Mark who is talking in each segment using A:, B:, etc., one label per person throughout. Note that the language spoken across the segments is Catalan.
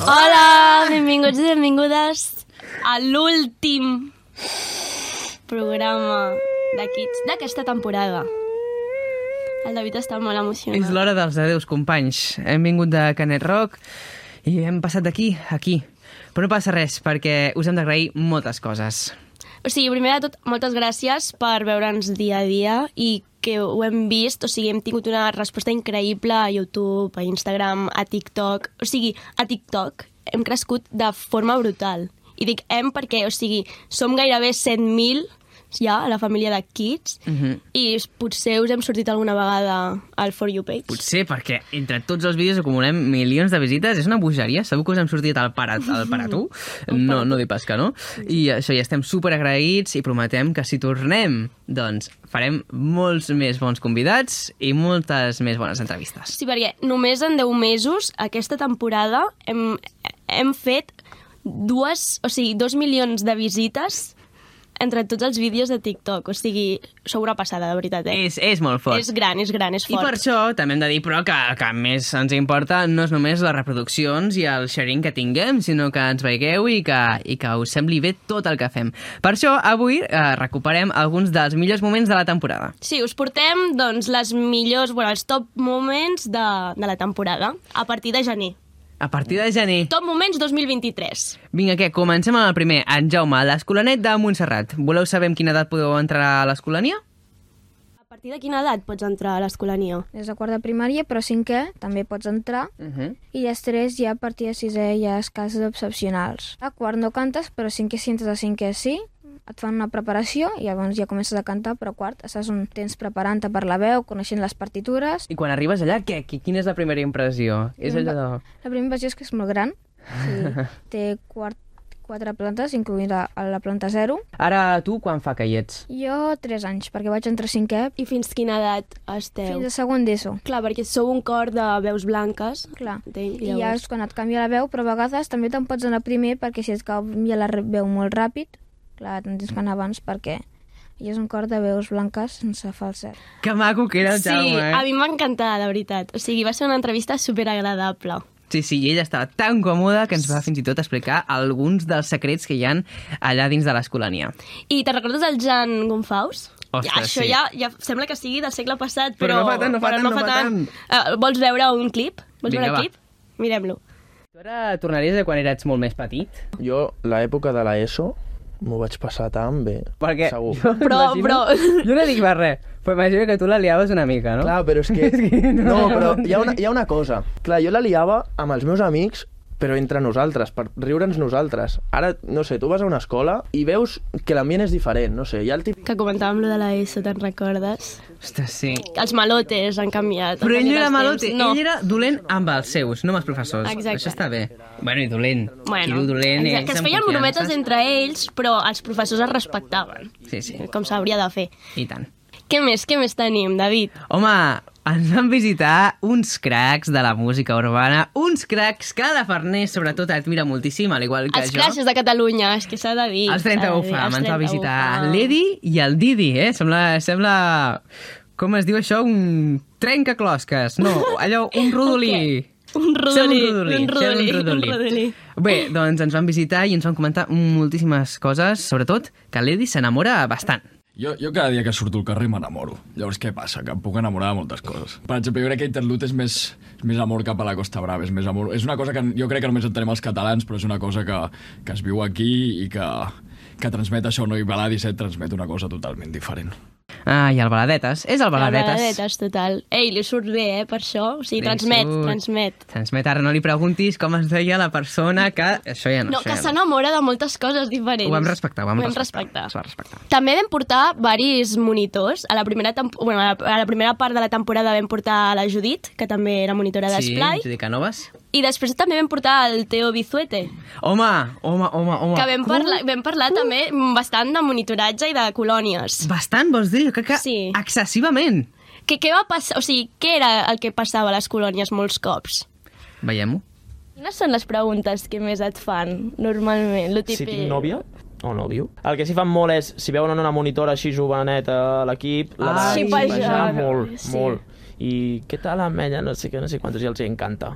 A: Hola, benvinguts i benvingudes a l'últim programa de Kids d'aquesta temporada. El David està molt emocionat.
B: És l'hora dels adeus, companys. Hem vingut de Canet Rock i hem passat d'aquí a aquí. Però no passa res, perquè us hem d'agrair moltes coses.
A: O sigui, primer de tot, moltes gràcies per veure'ns dia a dia i que ho hem vist, o sigui, hem tingut una resposta increïble a YouTube, a Instagram, a TikTok... O sigui, a TikTok hem crescut de forma brutal. I dic hem perquè, o sigui, som gairebé 100.000 ja, a la família de Kids,
B: Mhm.
A: i potser us hem sortit alguna vegada al For You page.
B: Potser perquè entre tots els vídeos acumulem milions de visites. És una bogeria. Segur que us hem sortit al para, al para tu. No, no dic pas que no. I això, ja estem super agraïts i prometem que si tornem, doncs farem molts més bons convidats i moltes més bones entrevistes.
A: Sí, perquè només en 10 mesos, aquesta temporada, hem, hem fet dues, o sigui, dos milions de visites entre tots els vídeos de TikTok. O sigui, sou una passada, de veritat, eh?
B: És, és molt fort.
A: És gran, és gran, és
B: I
A: fort.
B: per això també hem de dir, però, que, que més ens importa no és només les reproduccions i el sharing que tinguem, sinó que ens veigueu i que, i que us sembli bé tot el que fem. Per això, avui eh, recuperem alguns dels millors moments de la temporada.
A: Sí, us portem, doncs, les millors, bueno, els top moments de, de la temporada, a partir de gener.
B: A partir de gener...
A: Top moments 2023.
B: Vinga, què? Comencem amb el primer. En Jaume, l'escolanet de Montserrat. Voleu saber amb quina edat podeu entrar a l'escolania?
A: A partir de quina edat pots entrar a l'escolania?
C: Des de quart de primària, però cinquè també pots entrar.
B: Uh -huh.
C: I després ja a partir de sisè hi ha classes excepcionals. A quart no cantes, però cinquè si entres a cinquè sí. Et fan una preparació i llavors ja comences a cantar, però a quart estàs un temps preparant-te per la veu, coneixent les partitures.
B: I quan arribes allà, què? Qui- Quina és la primera impressió? És allò de...
C: La primera versió és que és molt gran. Sí, té quart, quatre plantes, incloïda a la planta zero.
B: Ara, tu, quan fa que hi ets?
C: Jo tres anys, perquè vaig entrar a cinquè
A: I fins quina edat esteu?
C: fins a segon d'ESO.
A: Clar, perquè sou un cor de veus blanques.
C: Clar.
A: Entenc,
C: I ja és quan et canvia la veu, però a vegades també te'n pots anar primer perquè si et canvia la re- veu molt ràpid, clar, te'n tens que anar abans perquè i és un cor de veus blanques sense falset.
B: Que maco que era el
A: Sí,
B: Jaume, eh?
A: a mi m'encantava, de veritat. O sigui, va ser una entrevista superagradable.
B: Sí, sí, i ella estava tan còmoda que ens va fins i tot explicar alguns dels secrets que hi han allà dins de l'escolania.
A: I te recordes el Jan Gonfaus?
B: Ostres,
A: ja, això
B: sí.
A: ja, ja sembla que sigui del segle passat, però,
B: Però no fa tant, no fa
A: però
B: tant, no fa
A: Eh, vols veure un clip? Vols
B: Vinga,
A: veure
B: va.
A: el clip? Mirem-lo.
B: Tu ara tornaries a quan eres molt més petit?
D: Jo, l'època de l'ESO, m'ho vaig passar tan bé.
B: Perquè
D: Segur.
B: jo
A: Però-
B: imagino-
A: però-
B: Jo no dic va res, però imagino que tu la liaves una mica, no?
D: Clar, però és que...
B: no.
D: No, però hi ha, una, hi ha una cosa. Clar, jo la liava amb els meus amics, però entre nosaltres, per riure'ns nosaltres. Ara, no sé, tu vas a una escola i veus que l'ambient és diferent, no sé, hi ha el típic...
A: Que comentàvem lo de la S, te'n recordes?
B: Ostres, sí.
A: Els malotes han canviat. han
B: Però ell
A: canviat
B: no era
A: els
B: malote,
A: temps.
B: no. ell era dolent amb els seus, no amb els professors.
A: Exacte.
B: Això està bé. Bueno, i dolent.
A: Bueno,
B: Qui diu dolent,
A: exacte,
B: ells
A: que es
B: amb
A: feien
B: confiança.
A: brometes entre ells, però els professors es respectaven,
B: Sí, sí,
A: com s'hauria de fer.
B: i tant.
A: Què més? Què més tenim, David?
B: Home, ens van visitar uns cracs de la música urbana, uns cracs que la Farners sobretot admira moltíssim, al igual que
A: Els
B: jo.
A: clashes de Catalunya, és que s'ha de dir.
B: Els 30
A: s'ha de dir,
B: UFAM,
A: els
B: ens
A: 30
B: va visitar
A: UFAM.
B: l'Edi i el Didi, eh? Sembla, sembla... Com es diu això? Un trencaclosques. No, allò, un rodolí.
A: Un
B: Sembla
A: rodolí, un rodolí,
B: sembla
A: un rodolí.
B: Bé, doncs ens van visitar i ens van comentar moltíssimes coses, sobretot que l'Edi s'enamora bastant.
E: Jo, jo cada dia que surto al carrer m'enamoro. Llavors, què passa? Que em puc enamorar de moltes coses. Per exemple, jo crec que Interlut és més, és més amor cap a la Costa Brava, és més amor... És una cosa que jo crec que només entenem els catalans, però és una cosa que, que es viu aquí i que, que transmet això, no? I Baladi 7 transmet una cosa totalment diferent.
B: Ah, i el Baladetes. És el Baladetes.
A: Baladetes, total. Ei, li surt bé, eh, per això. O sigui,
B: Li
A: transmet,
B: surt.
A: transmet.
B: Transmet, ara no li preguntis com es deia la persona que... Això ja no,
A: No,
B: sé.
A: que s'enamora de moltes coses diferents.
B: Ho vam respectar, ho vam,
A: respectar.
B: Es va respectar.
A: També vam portar varis monitors. A la primera, temp- bueno, a la, a la primera part de la temporada vam portar la Judit, que també era monitora d'Esplai.
B: Sí, Judy Canovas.
A: I després també vam portar el Teo Bizuete,
B: Home, home, home, home. Uh,
A: que vam
B: Com?
A: parlar, vam parlar també bastant de monitoratge i de colònies.
B: Bastant, vols dir? Jo crec que
A: Sí.
B: excessivament.
A: Que, què va passar? O sigui, què era el que passava a les colònies molts cops?
B: Veiem-ho.
A: Quines són les preguntes que més et fan, normalment? Lo
F: si
A: típic...
F: tinc nòvia o nòvio. El que s'hi fan molt és, si veuen una monitora així joveneta a l'equip, la
B: Ah,
F: de-
B: sí,
F: la de-
A: vaja.
F: molt,
A: Sí.
F: molt. I què tal amb ella? No sé què, no sé quantos, i els hi encanta.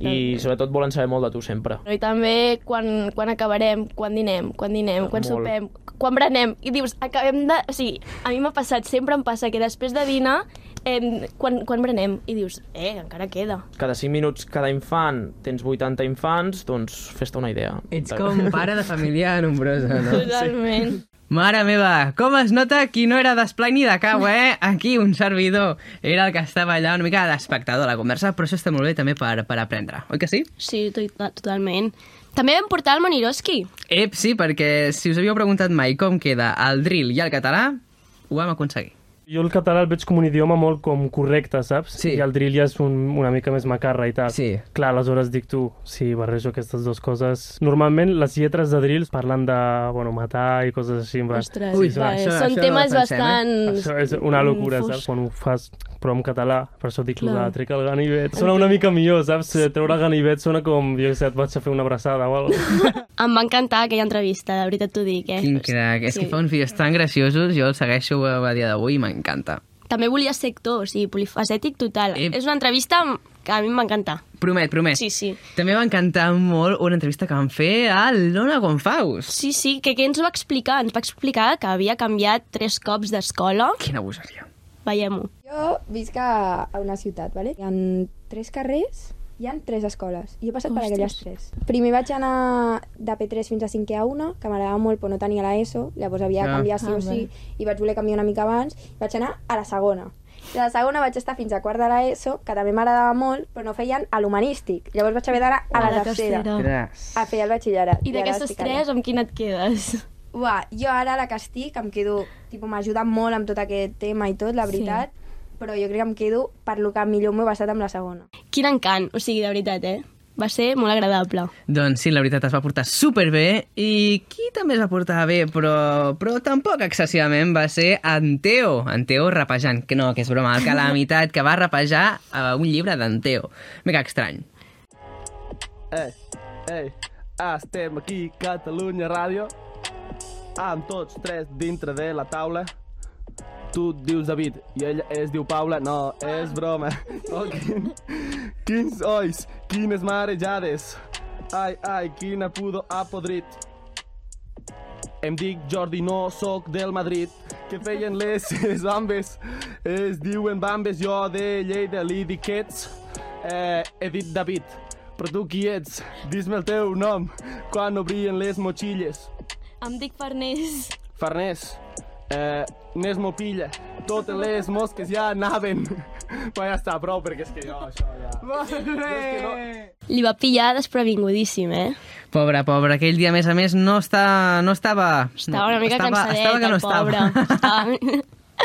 F: i sobretot volen saber molt de tu sempre.
G: I també quan, quan acabarem, quan dinem, quan dinem, quan
F: Molt.
G: sopem, quan berenem. I dius, acabem de... O sigui, a mi m'ha passat, sempre em passa que després de dinar, eh, quan, quan berenem? I dius, eh, encara queda.
F: Cada 5 minuts cada infant tens 80 infants, doncs fes-te una idea.
B: Ets com pare de família nombrosa, no?
G: Totalment.
B: Mare meva, com es nota qui no era d'esplai ni de cau, eh? Aquí un servidor era el que estava allà una mica d'espectador a la conversa, però això està molt bé també per, per aprendre, oi que sí?
A: Sí, to totalment. També vam portar el Moniroski.
B: Ep, sí, perquè si us havíeu preguntat mai com queda el drill i el català, ho vam aconseguir.
H: Jo el català el veig com un idioma molt com correcte, saps?
B: Sí.
H: I el drill ja és un, una mica més macarra i tal.
B: Sí.
H: Clar, aleshores dic tu, si barrejo aquestes dues coses... Normalment les lletres de drills parlen de, bueno, matar i coses així. en plan,
G: Ostres,
B: Ui,
G: Ui,
B: va,
G: va,
B: això-
G: són
B: això
G: temes
B: ho pensem, eh?
G: bastant...
H: Això és una locura,
G: fos.
H: saps? Quan ho fas, però en català, per això dic
G: Clar.
H: Clar. trec el ganivet. Sona una mica millor, saps? Treure el ganivet sona com, jo què sé, et vaig a fer una abraçada o alguna cosa.
A: Em va encantar aquella entrevista, de veritat t'ho dic, eh?
B: Quin crac, és que fa uns vídeos tan graciosos, jo el segueixo a, a dia d'avui i m'encanta.
A: També volia ser actor, o sigui, polifacètic total.
B: Eh.
A: És una entrevista que a mi m'encanta.
B: Promet, promet.
A: Sí, sí.
B: També m'encanta molt una entrevista que van fer a l'Ona Gonfaus.
A: Sí, sí, que què ens va explicar? Ens va explicar que havia canviat tres cops d'escola.
B: Quina bogeria.
A: Veiem-ho.
I: Jo visc a, a una ciutat, vale? Hi han tres carrers, hi han tres escoles. I he passat per
A: Ostres.
I: aquelles tres. Primer vaig anar de P3 fins a 5 a 1, que m'agradava molt, però no tenia la ESO. Llavors havia de
B: Ah.
I: canviar sí o sí, i vaig voler canviar una mica abans. Vaig anar a la segona. I a la segona vaig estar fins a quart de la ESO, que també m'agradava molt, però no feien a l'humanístic. Llavors vaig haver d'anar a la, tercera,
B: Gràcies.
I: a fer el batxillerat.
G: doncs. I
I: ara
G: d'aquestes
I: estic allà.
G: tres, amb quina et quedes?
I: Uà, jo ara la que estic em quedo... Tipo, m'ajuda molt amb tot aquest tema i tot, la veritat. Sí. Però jo crec que em quedo per lo que millor m'ho he basat amb la segona.
A: Quin encant, o sigui, de veritat, eh? Va ser molt agradable.
B: Doncs sí, la veritat es va portar superbé i qui també es va portar bé, però, però tampoc excessivament, va ser en Teo. En Teo rapejant, que no, que és broma, el que la meitat que va rapejar eh, un llibre d'en Teo. Mica estrany.
J: Ei, ei, estem aquí, Catalunya Ràdio, amb tots tres dintre de la taula. Tu et dius David i ella es diu Paula. No, és broma. Oh, quin... Quins ois, quines marejades. Ai, ai, quina pudor ha podrit. Em dic Jordi, no sóc del Madrid. Que feien les bambes? Es diuen bambes, jo de Lleida li dic ets. Eh, he dit David, però tu qui ets? Dis-me el teu nom quan obrien les motxilles.
G: Em dic Farners.
J: Farners, eh, n'és molt pilla. Totes les mosques ja anaven. Però ja està, prou, perquè és que jo això ja... Jo és que no,
A: Li va pillar desprevingudíssim, eh?
B: Pobre, pobre, aquell dia, a més a més, no, està, no estava...
A: Estava una mica
B: estava,
A: cansadet,
B: estava que no
A: el pobre.
B: estava.
A: Estava...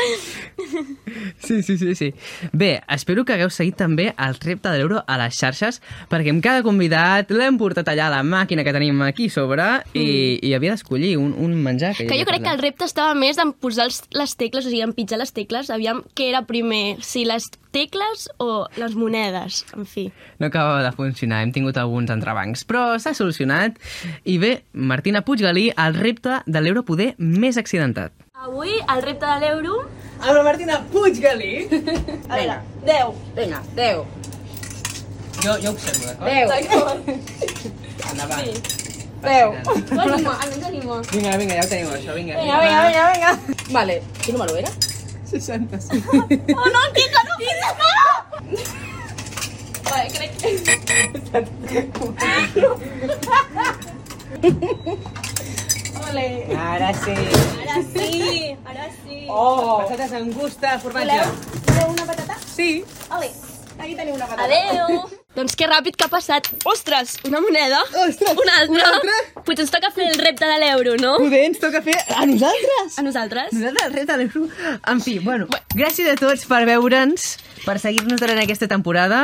B: Sí, sí, sí, sí. Bé, espero que hagueu seguit també el repte de l'euro a les xarxes, perquè amb cada convidat l'hem portat allà a la màquina que tenim aquí a sobre i, i havia d'escollir un, un menjar. hi
A: Mm. Que jo
B: havia
A: crec
B: per
A: que el repte estava més en posar els, les tecles, o sigui, en pitjar les tecles, aviam què era primer, si les tecles o les monedes, en fi.
B: no acabava de funcionar, hem tingut alguns entrebancs, però s'ha solucionat. I bé, Martina Puiggalí, el repte de l'euro poder més accidentat.
A: Avui, el repte de l'euro...
B: Amb la Martina Puiggalí?
G: A veure, 10.
K: Vinga, 10.
B: Jo, jo observo, d'acord?
K: 10.
B: Endavant.
K: Deu.
G: Anima, ens anima.
B: Vinga, vinga, ja ho tenim, això, vinga.
K: Vinga, vinga, vinga, vinga. Vale, quin número era?
B: 65.
G: Oh, no, en quita, no, quita, no! Vale, crec que...
B: Ara sí.
G: Ara sí, ara sí.
B: Oh! Patates amb gust de formatge. Voleu, una patata? Sí.
G: Adeu!
A: Doncs que ràpid que ha passat. Ostres, una moneda. Ostres, una altra. Una altra. Potser ens toca fer el repte de l'euro, no?
B: Poder ens toca fer a nosaltres.
A: A nosaltres.
B: Nosaltres el repte de l'euro. En fi, bueno, gràcies a tots per veure'ns, per seguir-nos durant aquesta temporada.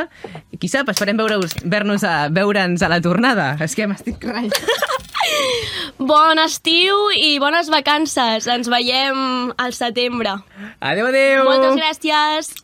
B: I qui sap, esperem veure-us- veure-nos a, veure'ns a la tornada. És que m'estic ratllant.
A: Bon estiu i bones vacances. Ens veiem al setembre.
B: Adéu, adéu.
A: Moltes gràcies.